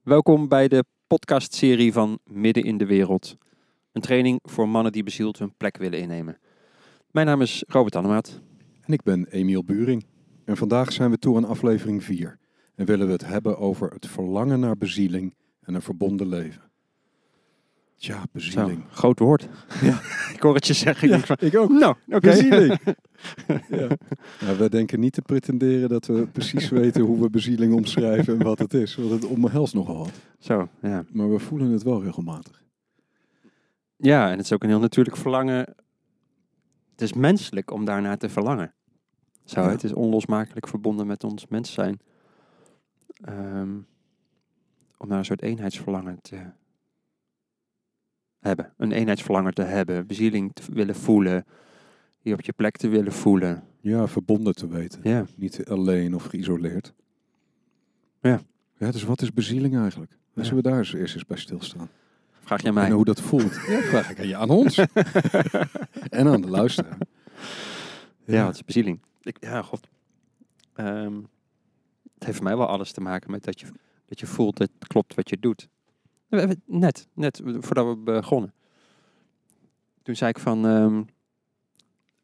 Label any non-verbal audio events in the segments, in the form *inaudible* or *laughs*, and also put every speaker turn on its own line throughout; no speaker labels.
Welkom bij de podcastserie van Midden in de Wereld. Een training voor mannen die bezield hun plek willen innemen. Mijn naam is Robert Annemaat.
En ik ben Emiel Buring. En vandaag zijn we toe aan aflevering 4. En willen we het hebben over het verlangen naar bezieling en een verbonden leven. Tja,
Zo,
bezieling.
groot woord. *laughs* ik hoor het je zeggen. Ik denk van,
ik ook. *laughs*
nou, oké.
Bezieling. ja. Nou, wij denken niet te pretenderen dat we precies weten hoe we bezieling omschrijven en wat het is. Want het omhelst nogal wat.
Zo, ja.
Maar we voelen het wel regelmatig.
Ja, en het is ook een heel natuurlijk verlangen. Het is menselijk om daarnaar te verlangen. Zo,
Ja.
het is onlosmakelijk verbonden met ons mens zijn. Ehm, om naar een soort eenheidsverlangen te hebben. Een eenheidsverlangen te hebben. Bezieling te willen voelen. Je op je plek te willen voelen.
Ja, verbonden te weten.
Ja.
Niet alleen of geïsoleerd.
Ja.
Ja, dus wat is bezieling eigenlijk?
Ja.
Zullen we daar eens eerst eens bij stilstaan?
Vraag jij
En
mij.
hoe dat voelt. *laughs* Ja, vraag ik aan je, aan
*laughs*
ons. *laughs* en aan de luisteraar.
Ja, wat is bezieling? Ik, ja, god. Ehm, het heeft voor mij wel alles te maken met dat je, dat je voelt dat het klopt wat je doet. We hebben het Net, net voordat we begonnen. Toen zei ik van... ehm,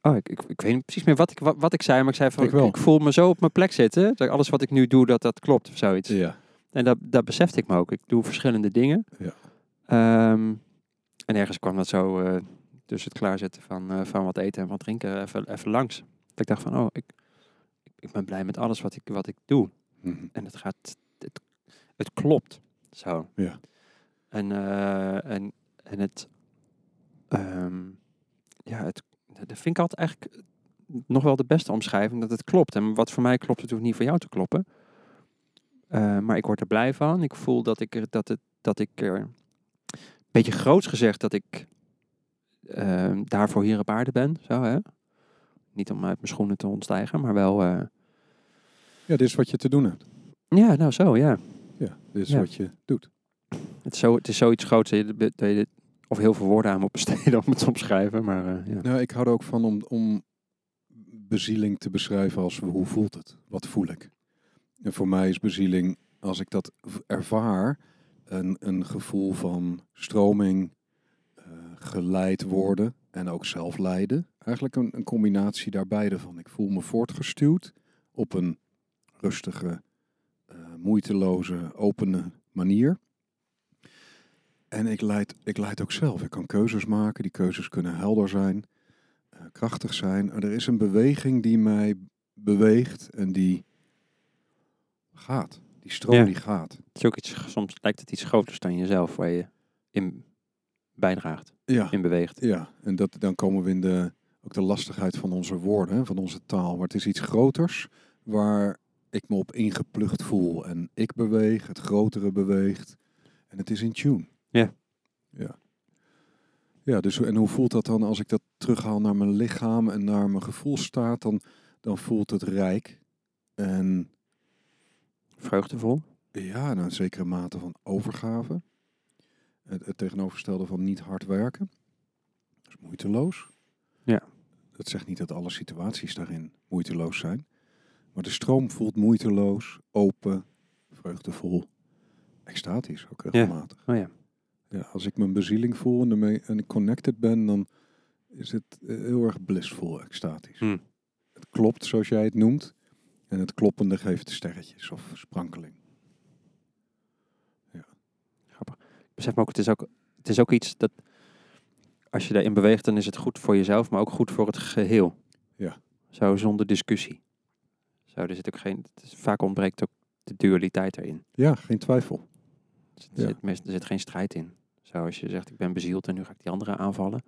oh, ik, ik, ik weet niet precies meer wat ik, wat, wat ik zei, maar ik zei van...
Ik wel.
voel me zo op mijn plek zitten. Dat alles wat ik nu doe, dat dat klopt of zoiets.
Ja.
En dat, dat besefte ik me ook. Ik doe verschillende dingen.
Ja.
Ehm, en ergens kwam dat zo eh tussen het klaarzetten van, eh, van wat eten en wat drinken even, even langs. Dat ik dacht van, oh, ik, ik ben blij met alles wat ik, wat ik doe.
Mhm.
En het gaat, het, het klopt. Zo.
Ja.
En, eh, en, en het, ehm, ja, het, dat vind ik altijd eigenlijk nog wel de beste omschrijving, dat het klopt. En wat voor mij klopt, het hoeft niet voor jou te kloppen. Eh, maar ik word er blij van. Ik voel dat ik er, dat het, dat ik er, een beetje groots gezegd, dat ik ehm, daarvoor hier op aarde ben. Zo, hè? Niet om uit mijn schoenen te ontstijgen, maar wel, eh,
ja, dit is wat je te doen hebt.
ja, nou zo, ja.
Ja, dit is
Ja.
wat je doet.
Het is, zo, het is zoiets groots dat je, dat je- of heel veel woorden aan moet besteden *laughs* om het te omschrijven, maar eh, ja.
Nou, ik hou er ook van om, om bezieling te beschrijven als hoe voelt het? Wat voel ik? En voor mij is bezieling, als ik dat v- ervaar, een, een gevoel van stroming, eh, geleid worden en ook zelf leiden. Eigenlijk een, een combinatie daar beide van. Ik voel me voortgestuwd op een rustige, eh, moeiteloze, opene manier. En ik leid, ik leid ook zelf. Ik kan keuzes maken. Die keuzes kunnen helder zijn, eh, krachtig zijn. Er is een beweging die mij beweegt en die gaat. Die stroom
Ja.
die gaat.
het is ook iets, soms lijkt het iets groters dan jezelf waar je in bijdraagt,
Ja,
in beweegt.
ja. en dat, dan komen we in de, ook de lastigheid van onze woorden, hè, van onze taal. Maar het is iets groters waar ik me op ingeplucht voel. En ik beweeg, het grotere beweegt. En het is in tune.
Ja.
Ja. Ja, dus hoe- en hoe voelt dat dan als ik dat terughaal naar mijn lichaam en naar mijn gevoelstaat? Dan, dan voelt het rijk. En
Vreugdevol.
ja, en een zekere mate van overgave. Het, het tegenovergestelde van niet hard werken. Dat is moeiteloos.
Ja.
Dat zegt niet dat alle situaties daarin moeiteloos zijn. Maar de stroom voelt moeiteloos, open, vreugdevol, extatisch ook regelmatig.
Oh ja.
Ja, als ik mijn bezieling voel en, ermee, en ik connected ben, dan is het eh, heel erg blissful, extatisch.
Hmm.
Het klopt, zoals jij het noemt. En het kloppende geeft sterretjes of sprankeling.
Ik besef me ook, het is ook, het is ook iets dat als je daarin beweegt, dan is het goed voor jezelf, maar ook goed voor het geheel.
Ja.
Zo zonder discussie. Zo, er zit ook geen, het is- vaak ontbreekt ook de dualiteit erin.
Ja, geen twijfel.
Er zit,
Ja.
zit meest- er zit geen strijd in. Zo als je zegt, ik ben bezield en nu ga ik die andere aanvallen.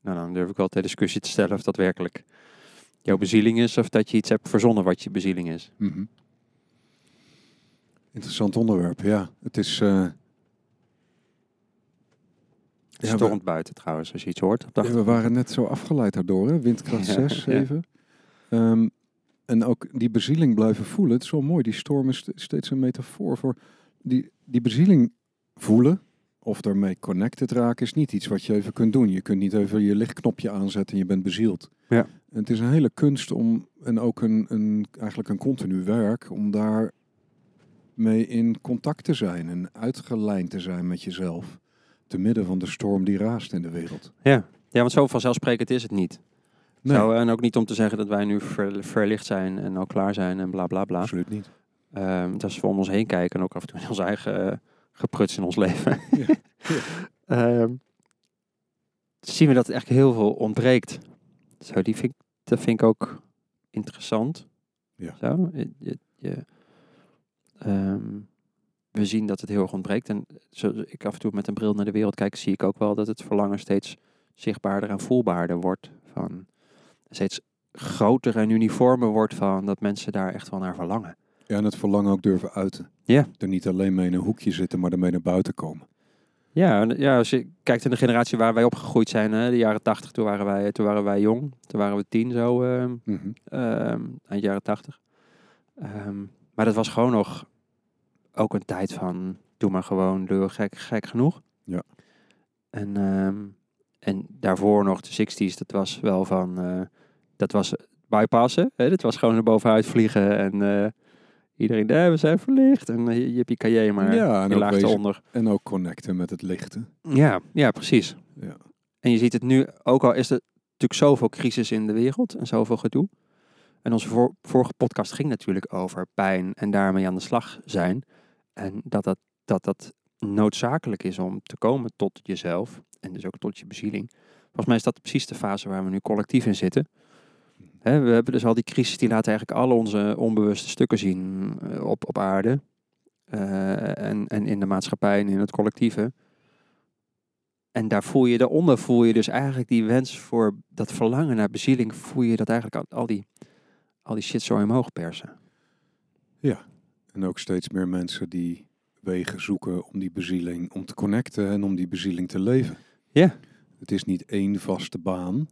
Nou, dan durf ik wel ter discussie te stellen of dat werkelijk jouw bezieling is... of dat je iets hebt verzonnen wat je bezieling is.
Interessant onderwerp, ja. Het is... eh,
Het
Ja,
stormt buiten trouwens, als je iets hoort. Op de
Ja, we waren net zo afgeleid daardoor, hè? windkracht
Ja,
6,
ja.
7. Ehm, en ook die bezieling blijven voelen. Het is wel mooi, die storm is st- steeds een metafoor voor... Die, die bezieling voelen, of daarmee connected raken, is niet iets wat je even kunt doen. Je kunt niet even je lichtknopje aanzetten en je bent bezield.
Ja.
En het is een hele kunst om, en ook een, een, eigenlijk een continu werk, om daar mee in contact te zijn en uitgelijnd te zijn met jezelf. Te midden van de storm die raast in de wereld.
Ja. ja, want zo vanzelfsprekend is het niet.
Nee,
Zo, en ook niet om te zeggen dat wij nu ver- verlicht zijn en al klaar zijn en bla bla bla.
absoluut niet.
Ehm, dat is we om ons heen kijken en ook af en toe in ons eigen eh, gepruts in ons leven.
*laughs* Ja. Ja.
*laughs* Ehm, zien we dat het echt heel veel ontbreekt. Zo, die vind, ik- dat vind ik ook interessant.
Ja.
Zo, je- je- je, ehm, we zien dat het heel erg ontbreekt. En zoals ik af en toe met een bril naar de wereld kijk, zie ik ook wel dat het verlangen steeds zichtbaarder en voelbaarder wordt. Van, steeds groter en uniformer wordt van dat mensen daar echt wel naar verlangen.
Ja, en het verlangen ook durven uiten.
Ja.
Er niet alleen mee in een hoekje zitten, maar ermee naar buiten komen.
Ja, en, ja, als je kijkt in de generatie waar wij opgegroeid zijn, hè, de jaren 80, toen waren wij, toen waren wij jong. Toen waren we tien zo, ehm
Mhm.
ehm, eind jaren 80. Ehm, maar dat was gewoon nog ook een tijd van, doe maar gewoon, doe gek, gek genoeg.
Ja.
En, ehm, en daarvoor nog de 60s, dat was wel van, eh, dat was bypassen. Hè? Dat was gewoon er bovenuit vliegen en eh, iedereen, daar we zijn verlicht. En uh, jippie kaye, maar
ja, en
je
ook,
laag
wezen-
eronder.
en ook connecten met het lichte.
Ja, ja, precies.
Ja.
En je ziet het nu, ook al is er natuurlijk zoveel crisis in de wereld en zoveel gedoe. En onze voor- vorige podcast ging natuurlijk over pijn en daarmee aan de slag zijn. En dat dat, dat dat noodzakelijk is om te komen tot jezelf en dus ook tot je bezieling. Volgens mij is dat precies de fase waar we nu collectief in zitten. Hè, we hebben dus al die crisis, die laten eigenlijk al onze onbewuste stukken zien eh, op, op aarde. Eh, en, en in de maatschappij en in het collectieve. En daar voel je, daaronder voel je dus eigenlijk die wens voor dat verlangen naar bezieling, voel je dat eigenlijk al, al die, al die shit zo omhoog persen.
En ook steeds meer mensen die wegen zoeken om die bezieling, om te connecten en om die bezieling te leven.
Ja.
Het is niet één vaste baan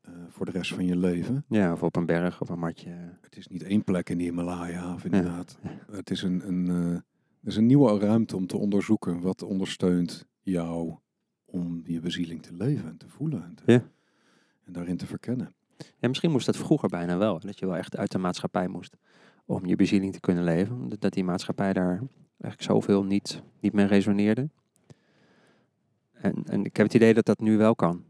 eh, voor de rest van je leven.
Ja, of op een berg of een matje.
Het is niet één plek in de Himalaya of inderdaad.
Ja.
Het is een, een, eh, er is een nieuwe ruimte om te onderzoeken wat ondersteunt jou om je bezieling te leven en te voelen. En, te-
Ja.
en daarin te verkennen.
En misschien moest dat vroeger bijna wel, dat je wel echt uit de maatschappij moest om je bezieling te kunnen leven. Omdat dat die maatschappij daar eigenlijk zoveel niet, niet mee resoneerde. En, en ik heb het idee dat dat nu wel kan.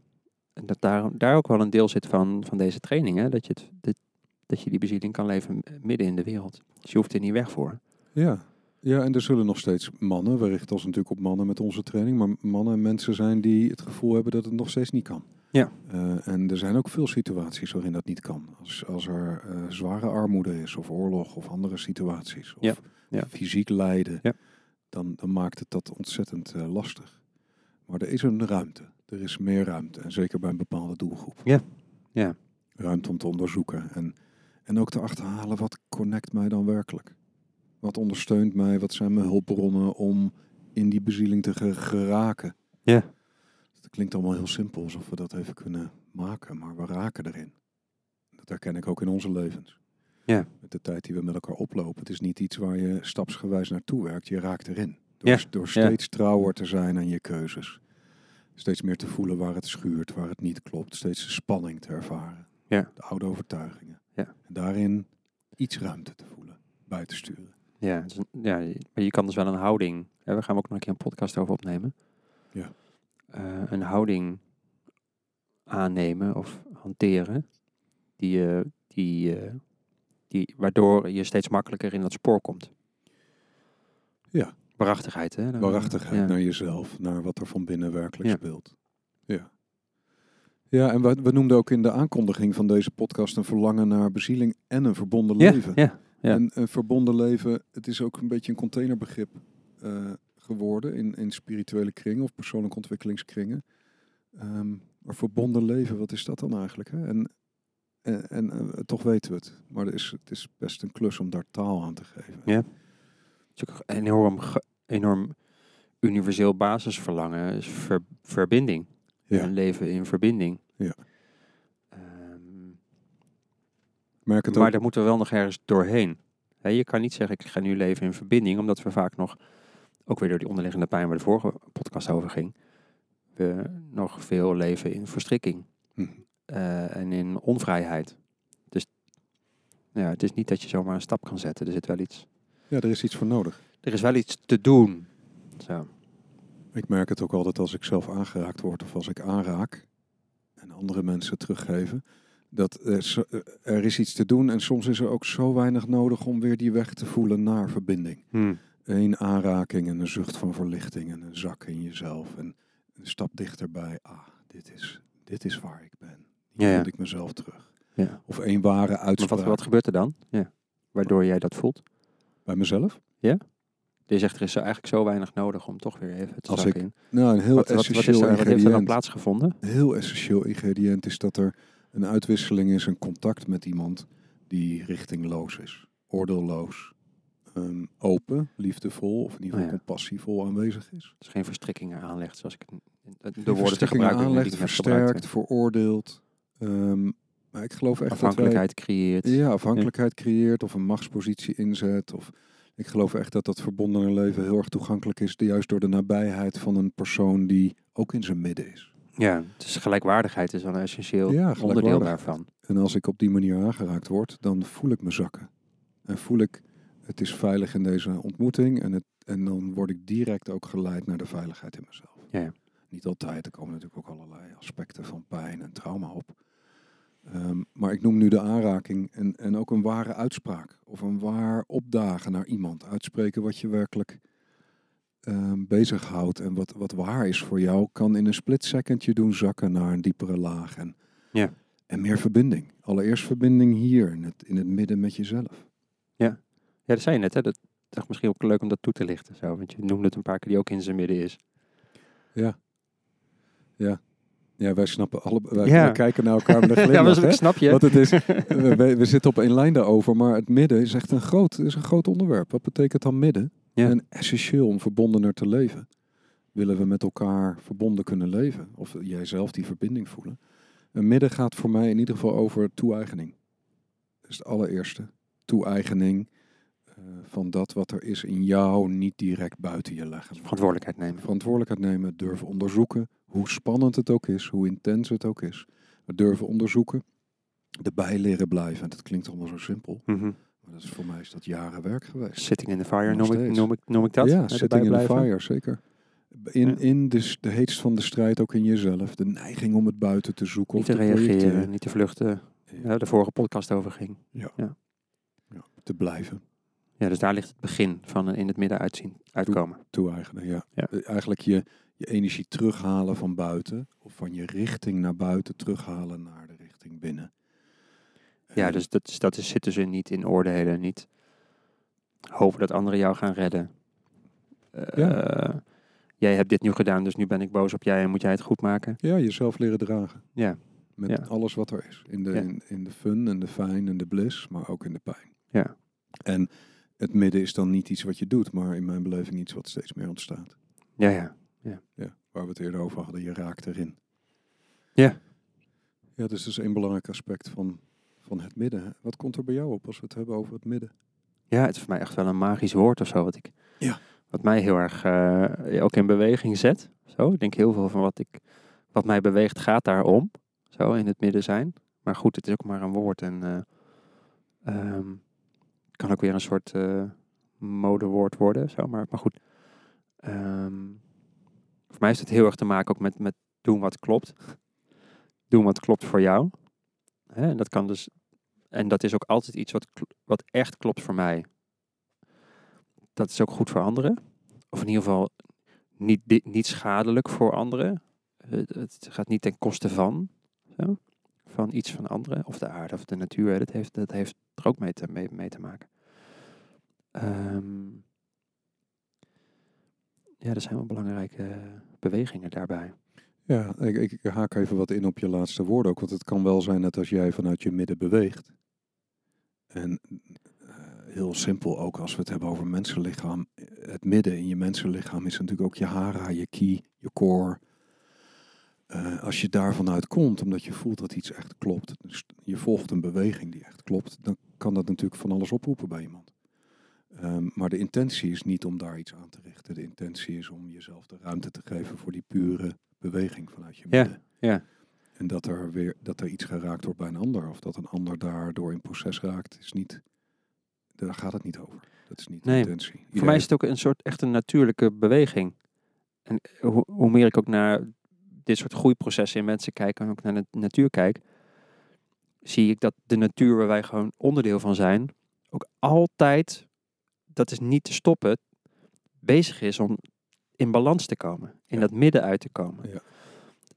En dat daar, daar ook wel een deel zit van, van deze training, hè? Dat, je het, dat, dat je die bezieling kan leven midden in de wereld. Dus je hoeft er niet weg voor.
Ja. ja, en er zullen nog steeds mannen, we richten ons natuurlijk op mannen met onze training, maar mannen en mensen zijn die het gevoel hebben dat het nog steeds niet kan.
Ja.
Eh, en er zijn ook veel situaties waarin dat niet kan. Als, als er eh, zware armoede is, of oorlog, of andere situaties, of
Ja, ja.
fysiek lijden,
Ja.
dan, dan maakt het dat ontzettend eh, lastig. Maar er is een ruimte. Er is meer ruimte, en zeker bij een bepaalde doelgroep.
Ja, ja.
Ruimte om te onderzoeken en, en ook te achterhalen wat connect mij dan werkelijk. Wat ondersteunt mij? Wat zijn mijn hulpbronnen om in die bezieling te ge- geraken?
Ja.
Het klinkt allemaal heel simpel, alsof we dat even kunnen maken, maar we raken erin. Dat herken ik ook in onze levens.
Ja.
Met de tijd die we met elkaar oplopen. Het is niet iets waar je stapsgewijs naartoe werkt, je raakt erin. Door,
Ja,
door steeds trouwer te zijn aan je keuzes. Steeds meer te voelen waar het schuurt, waar het niet klopt. Steeds de spanning te ervaren.
Ja.
De oude overtuigingen.
Ja.
En daarin iets ruimte te voelen, bij te sturen.
Ja, dus, een- ja, je- maar je kan dus wel een houding. Hè, we gaan ook nog een keer een podcast over opnemen.
Ja.
Eh, een houding aannemen of hanteren. Die, je- die, eh, die, waardoor je steeds makkelijker in dat spoor komt.
Ja.
Waarachtigheid, hè? dan-
Waarachtigheid
Ehm, ja.
naar jezelf, naar wat er van binnen werkelijk
Ja.
speelt. Ja. Ja, en we, we noemden ook in de aankondiging van deze podcast een verlangen naar bezieling en een verbonden
Ja,
leven.
ja, ja.
En een verbonden leven, het is ook een beetje een containerbegrip eh, geworden in, in spirituele kringen of persoonlijke ontwikkelingskringen. Ehm, maar verbonden leven, wat is dat dan eigenlijk? Hè? En, en, en eh, toch weten we het. Maar er is, het is best een klus om daar taal aan te geven.
Ja. Het is ook een enorm, ge- enorm universeel basisverlangen is ver- verbinding.
Ja.
En leven in verbinding.
Ja.
Ehm,
Ik Merk het
maar
ook.
daar moeten we wel nog ergens doorheen. Hè, je kan niet zeggen, ik ga nu leven in verbinding, omdat we vaak nog, ook weer door die onderliggende pijn waar de vorige podcast over ging, we nog veel leven in verstrikking
Hm.
eh, en in onvrijheid. Dus nou ja, het is niet dat je zomaar een stap kan zetten, er zit wel iets.
Ja, er is iets voor nodig.
Er is wel iets te doen. Zo.
Ik merk het ook altijd als ik zelf aangeraakt word of als ik aanraak en andere mensen teruggeven. Dat er, zo- eh, er is iets te doen en soms is er ook zo weinig nodig om weer die weg te voelen naar verbinding. Eén aanraking en een zucht van verlichting en een zak in jezelf. En een stap dichterbij. Ah, dit is, dit is waar ik ben.
Ja,
Hier
ja.
vind ik mezelf terug.
Ja.
Of één ware
Maar
uitspraak
wat, wat gebeurt er dan? Ja. Waardoor jij dat voelt?
bij mezelf.
Je zegt, er is zo eigenlijk zo weinig nodig om toch weer even te
Als
zakken
ik
in.
Nou, een heel
Wat, wat, wat, is
essentieel
er, wat heeft er dan
ingrediënt.
plaatsgevonden?
Een heel essentieel ingrediënt is dat er een uitwisseling is, een contact met iemand die richtingloos is, oordeelloos, ehm, open, liefdevol of in ieder geval
Oh ja.
compassievol aanwezig is.
Dus geen verstrikkingen aanlegt, zoals ik het- de
Die
woorden te
verstikkingen
gebruiken die ik
aanlegt,
net gebruikte.
versterkt, veroordeeld. Ehm, maar ik geloof echt dat wij
Afhankelijkheid creëert.
ja, afhankelijkheid creëert of een machtspositie inzet. Of ik geloof echt dat dat verbondene leven heel erg toegankelijk is, juist door de nabijheid van een persoon die ook in zijn midden is.
Ja, dus gelijkwaardigheid is wel een essentieel
Ja,
onderdeel
gelijkwaardig.
daarvan.
En als ik op die manier aangeraakt word, dan voel ik me zakken. En voel ik, het is veilig in deze ontmoeting. En, het, en dan word ik direct ook geleid naar de veiligheid in mezelf.
Ja, ja.
Niet altijd, er komen natuurlijk ook allerlei aspecten van pijn en trauma op. Ehm, maar ik noem nu de aanraking en, en ook een ware uitspraak. Of een waar opdagen naar iemand. Uitspreken wat je werkelijk ehm, bezighoudt. En wat, wat waar is voor jou, kan in een split second je doen zakken naar een diepere laag. En en meer verbinding. Allereerst verbinding hier, in het, in het midden met jezelf.
Ja, dat zei je net, hè? Dat dacht misschien ook leuk om dat toe te lichten. Zo, want je noemde het een paar keer die ook in zijn midden is.
Ja, wij snappen alle, wij,
Ja.
wij kijken naar elkaar met
*laughs*
een
ja,
glimlach.
maar ik
hè?
snap je.
Want het is, we, we- we zitten op één lijn daarover, maar het midden is echt een groot, is een groot onderwerp. Wat betekent dan midden?
Ja.
En essentieel om verbondener te leven. Willen we met elkaar verbonden kunnen leven? Of jij zelf die verbinding voelen? Een midden gaat voor mij in ieder geval over toe-eigening. Dat is het allereerste. Toe-eigening eh, van dat wat er is in jou, niet direct buiten je
*laughs*
leggen.
Verantwoordelijkheid nemen.
Verantwoordelijkheid nemen, durven onderzoeken, hoe spannend het ook is, hoe intens het ook is. We durven onderzoeken, erbij leren blijven. En dat klinkt allemaal zo simpel, maar dat is, voor mij is dat jaren werk geweest.
Sitting in the fire
Mhm. Nog
noem ik,
steeds.
noem, ik, noem ik dat.
ja,
Erbij
sitting in the
blijven.
fire, zeker. In,
Ja.
in de, s- de heetst van de strijd, ook in jezelf, de neiging om het buiten te zoeken
Niet
of
te
te
reageren,
projecteren.
niet te vluchten.
Ja.
Waar de vorige podcast over ging.
Ja, te blijven,
Ja, dus daar ligt het begin van een in het midden uitzien, uitkomen.
toe-eigenen, ja.
Ja.
Eh, Eigenlijk je, je energie terughalen van buiten, of van je richting naar buiten terughalen naar de richting binnen.
Ja,
En-
dus dat, is, dat is, zit dus in niet in oordelen, niet hopen dat anderen jou gaan redden. Eh, Jij hebt dit nu gedaan, dus nu ben ik boos op jij en moet jij het goed maken.
Ja, jezelf leren dragen.
Ja.
Met
Ja.
alles wat er is. In de,
Ja.
in, in de fun en de fijn en de bliss, maar ook in de pijn.
Ja.
En het midden is dan niet iets wat je doet, maar in mijn beleving iets wat steeds meer ontstaat.
Ja, ja.
Ja, waar we het eerder over hadden, je raakt erin.
Ja.
Ja, dus dat is een belangrijk aspect van, van het midden. hè. Wat komt er bij jou op als we het hebben over het midden?
Ja, het is voor mij echt wel een magisch woord of zo. Wat, ik,
Ja.
wat mij heel erg eh, ja, ook in beweging zet. Zo. Ik denk heel veel van wat, ik, wat mij beweegt gaat daarom. Zo in het midden zijn. Maar goed, het is ook maar een woord. En eh, ehm, het kan ook weer een soort eh, modewoord worden. Zo. Maar, maar goed. Ehm, voor mij is het heel erg te maken ook met, met doen wat klopt. doen wat klopt voor jou. Hè, en dat kan dus. En dat is ook altijd iets wat, kl- wat echt klopt voor mij dat is ook goed voor anderen. Of in ieder geval niet, di- niet schadelijk voor anderen. Het, het gaat niet ten koste van, zo, van iets van anderen. Of de aarde of de natuur. hè. Dat heeft, dat heeft er ook mee te, mee, mee te maken. Ehm, ja, dat zijn wel belangrijke eh, bewegingen daarbij.
Ja, ik, ik haak even wat in op je laatste woord ook. Want het kan wel zijn dat als jij vanuit je midden beweegt. En eh, heel simpel ook als we het hebben over mensenlichaam. Het midden in je mensenlichaam is natuurlijk ook je hara, je ki, je core. Eh, als je daar vanuit komt, omdat je voelt dat iets echt klopt. Dus je volgt een beweging die echt klopt. Dan kan dat natuurlijk van alles oproepen bij iemand. Ehm, maar de intentie is niet om daar iets aan te richten. De intentie is om jezelf de ruimte te geven voor die pure beweging vanuit je
Ja,
midden.
ja.
En dat er weer dat er iets geraakt wordt bij een ander. Of dat een ander daardoor in proces raakt, is niet. daar gaat het niet over. Dat is niet
Nee.
de intentie.
Voor mij is het ook een soort echt een natuurlijke beweging. En hoe, hoe meer ik ook naar dit soort groeiprocessen in mensen kijk en ook naar de natuur kijk, zie ik dat de natuur waar wij gewoon onderdeel van zijn, ook altijd, dat is niet te stoppen, bezig is om in balans te komen, in
Ja.
dat midden uit te komen.
Ja.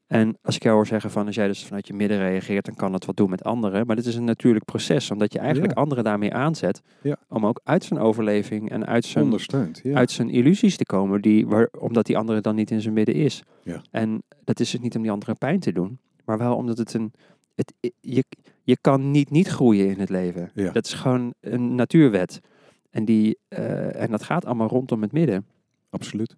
En als ik jou hoor zeggen van als jij dus vanuit je midden reageert, dan kan dat wat doen met anderen. Maar dit is een natuurlijk proces, omdat je eigenlijk anderen daarmee aanzet
Ja.
om ook uit zijn overleving en uit zijn
ondersteund. Ja.
uit zijn illusies te komen, die, waar, omdat die andere dan niet in zijn midden is.
Ja.
En dat is dus niet om die andere pijn te doen, maar wel omdat het een. Het, je, je kan niet niet groeien in het leven.
Ja.
Dat is gewoon een natuurwet. En, die, eh, en dat gaat allemaal rondom het midden.
Absoluut.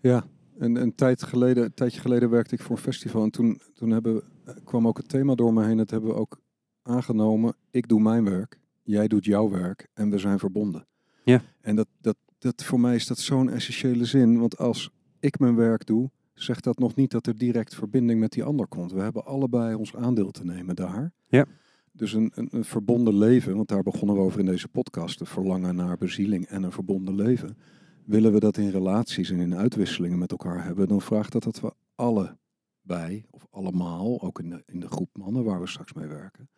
Ja, en een, tijd geleden, een tijdje geleden werkte ik voor een festival. En toen, toen hebben, we- eh, kwam ook het thema door me heen. Dat hebben we ook aangenomen. Ik doe mijn werk, jij doet jouw werk en we zijn verbonden.
Ja.
En dat, dat, dat, voor mij is dat zo'n essentiële zin. Want als ik mijn werk doe, zegt dat nog niet dat er direct verbinding met die ander komt. We hebben allebei ons aandeel te nemen daar.
Ja.
Dus een, een, een verbonden leven, want daar begonnen we over in deze podcast. Het verlangen naar bezieling en een verbonden leven willen we dat in relaties en in uitwisselingen met elkaar hebben, dan vraagt dat dat we allebei, of allemaal, ook in de, in de groep mannen waar we straks mee werken,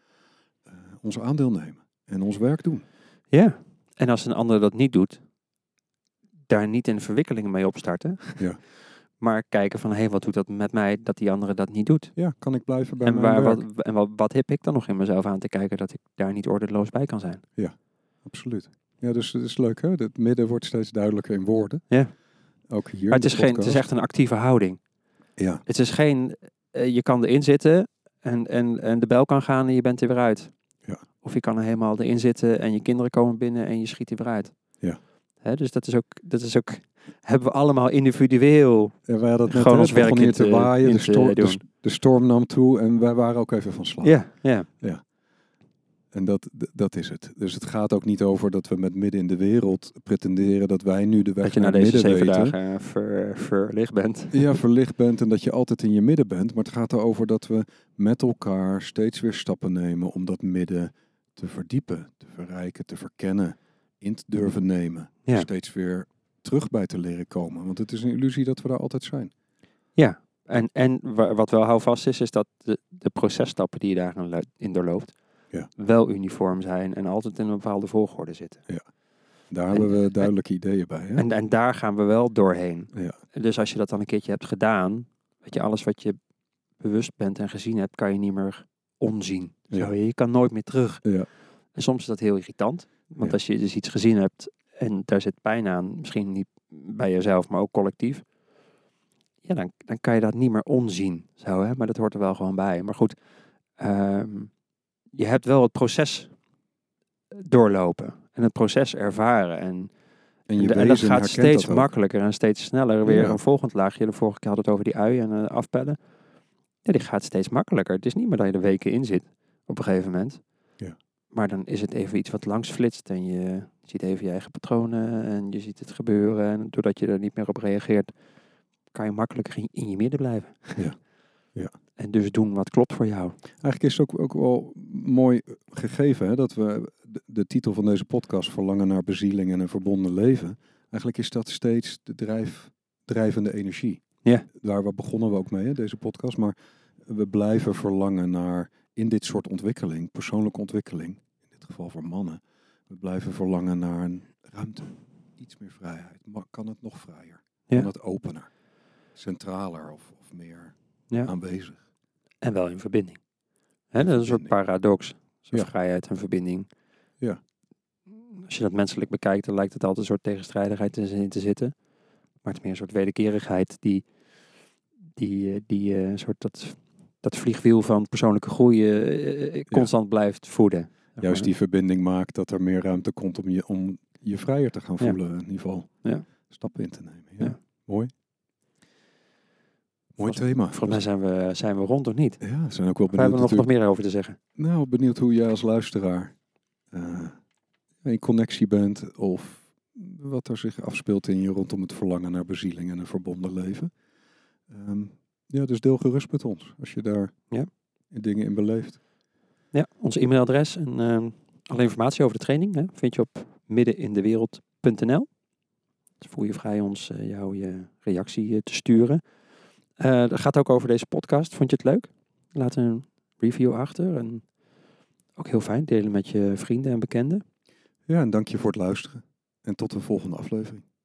eh, ons aandeel nemen en ons werk doen.
Ja. En als een ander dat niet doet, daar niet in verwikkelingen mee opstarten.
Ja.
*laughs* Maar kijken van, hé, hey, wat doet dat met mij dat die andere dat niet doet?
Ja, kan ik blijven bij
En,
mijn
waar,
werk?
wat, en wat, wat heb ik dan nog in mezelf aan te kijken dat ik daar niet ordeloos bij kan zijn?
Absoluut. Ja, dus het is leuk hè? Het midden wordt steeds duidelijker in woorden.
Ja.
Ook hier. in
Maar het
de
is, geen, het is
podcast.
echt een actieve houding.
Ja,
Het is geen, eh, je kan erin zitten en, en, en de bel kan gaan en je bent er weer uit.
Ja.
Of je kan er helemaal erin zitten en je kinderen komen binnen en je schiet er weer uit.
Ja.
Hè, dus dat is, ook, dat is ook, hebben we allemaal individueel.
en wij hadden het net
Gewoon
hè,
ons
het
werk
begon hier
in
te
te-
waaien,
in
de,
te
stor- de,
doen.
st- de storm nam toe en wij waren ook even van slag.
Ja, ja.
En dat, d- dat is het. Dus het gaat ook niet over dat we met midden in de wereld pretenderen dat wij nu de weg
Dat je na
naar
deze
midden
zeven
weten.
dagen eh, ver, verlicht bent.
Ja, verlicht bent en dat je altijd in je midden bent. Maar het gaat erover dat we met elkaar steeds weer stappen nemen om dat midden te verdiepen, te verrijken, te verkennen, in te durven nemen.
Ja.
Steeds weer terug bij te leren komen. Want het is een illusie dat we daar altijd zijn.
En, en wa- wat wel houvast is, is dat de, de processtappen die je daarin lu- in doorloopt,
Ja.
wel uniform zijn en altijd in een bepaalde volgorde zitten.
Daar
En-
hebben we duidelijke ideeën bij. Hè?
En, en daar gaan we wel doorheen.
Ja.
Dus als je dat dan een keertje hebt gedaan, weet je, alles wat je bewust bent en gezien hebt, kan je niet meer onzien.
Ja.
Zo, je, je kan nooit meer terug.
Ja.
En soms is dat heel irritant, want
Ja.
als je dus iets gezien hebt en daar zit pijn aan, misschien niet bij jezelf, maar ook collectief, ja, dan, dan kan je dat niet meer onzien. Zo, hè? Maar dat hoort er wel gewoon bij. Maar goed, ehm, je hebt wel het proces doorlopen en het proces ervaren en
En je
en,
wezen
dat gaat
herkent
steeds
dat ook.
makkelijker en steeds sneller. Weer
Ja.
een volgend laagje. De vorige keer hadden we het over die ui en eh, afpellen. Ja, die gaat steeds makkelijker. Het is niet meer dat je er weken in zit op een gegeven moment.
Ja.
Maar dan is het even iets wat langs flitst en je ziet even je eigen patronen en je ziet het gebeuren. En doordat je er niet meer op reageert, kan je makkelijker in, in je midden blijven.
Ja. Ja.
*laughs* En dus doen wat klopt voor jou.
Eigenlijk is het ook, ook wel mooi gegeven hè, dat we de, de titel van deze podcast Verlangen naar bezieling en een verbonden leven. Eigenlijk is dat steeds de drijf, drijvende energie.
Ja.
Daar we begonnen we ook mee, hè, deze podcast. Maar we blijven verlangen naar, in dit soort ontwikkeling, persoonlijke ontwikkeling, in dit geval voor mannen, we blijven verlangen naar een ruimte, iets meer vrijheid. Maar kan het nog vrijer?
Ja.
Kan het opener? Centraler of, of meer
Ja.
aanwezig?
En wel in verbinding. Hè,
In
dat is een soort
verbinding.
paradox. Zo'n
Ja.
vrijheid en verbinding.
Ja.
Als je dat menselijk bekijkt, dan lijkt het altijd een soort tegenstrijdigheid in te zitten. Maar het is meer een soort wederkerigheid die, die, eh, die eh, een soort dat, dat vliegwiel van persoonlijke groei eh, eh, constant blijft voeden.
Juist die verbinding maakt dat er meer ruimte komt om je, om je vrijer te gaan
Ja.
voelen. In ieder geval
Ja.
stappen in te nemen. Ja.
Ja.
Mooi. Mooi
Volgens-
thema.
Volgens mij zijn we, zijn we rond of niet?
ja, we zijn ook wel
We hebben
benieuwd.
er nog, nog
natuurlijk-
meer over te zeggen.
Nou, benieuwd hoe jij als luisteraar eh, in connectie bent of wat er zich afspeelt in je rondom het verlangen naar bezieling en een verbonden leven. Ehm, ja, dus deel gerust met ons als je daar
Ja.
dingen in beleeft.
Ja, ons e-mailadres en ehm, Alle informatie over de training hè, vind je op middenindewereld.nl. Dus voel je vrij ons eh, jouw je reactie eh, te sturen. Eh, dat gaat ook over deze podcast. Vond je het leuk? Laat een review achter. En ook heel fijn, delen met je vrienden en bekenden.
Ja, en dank je voor het luisteren. En tot een volgende aflevering.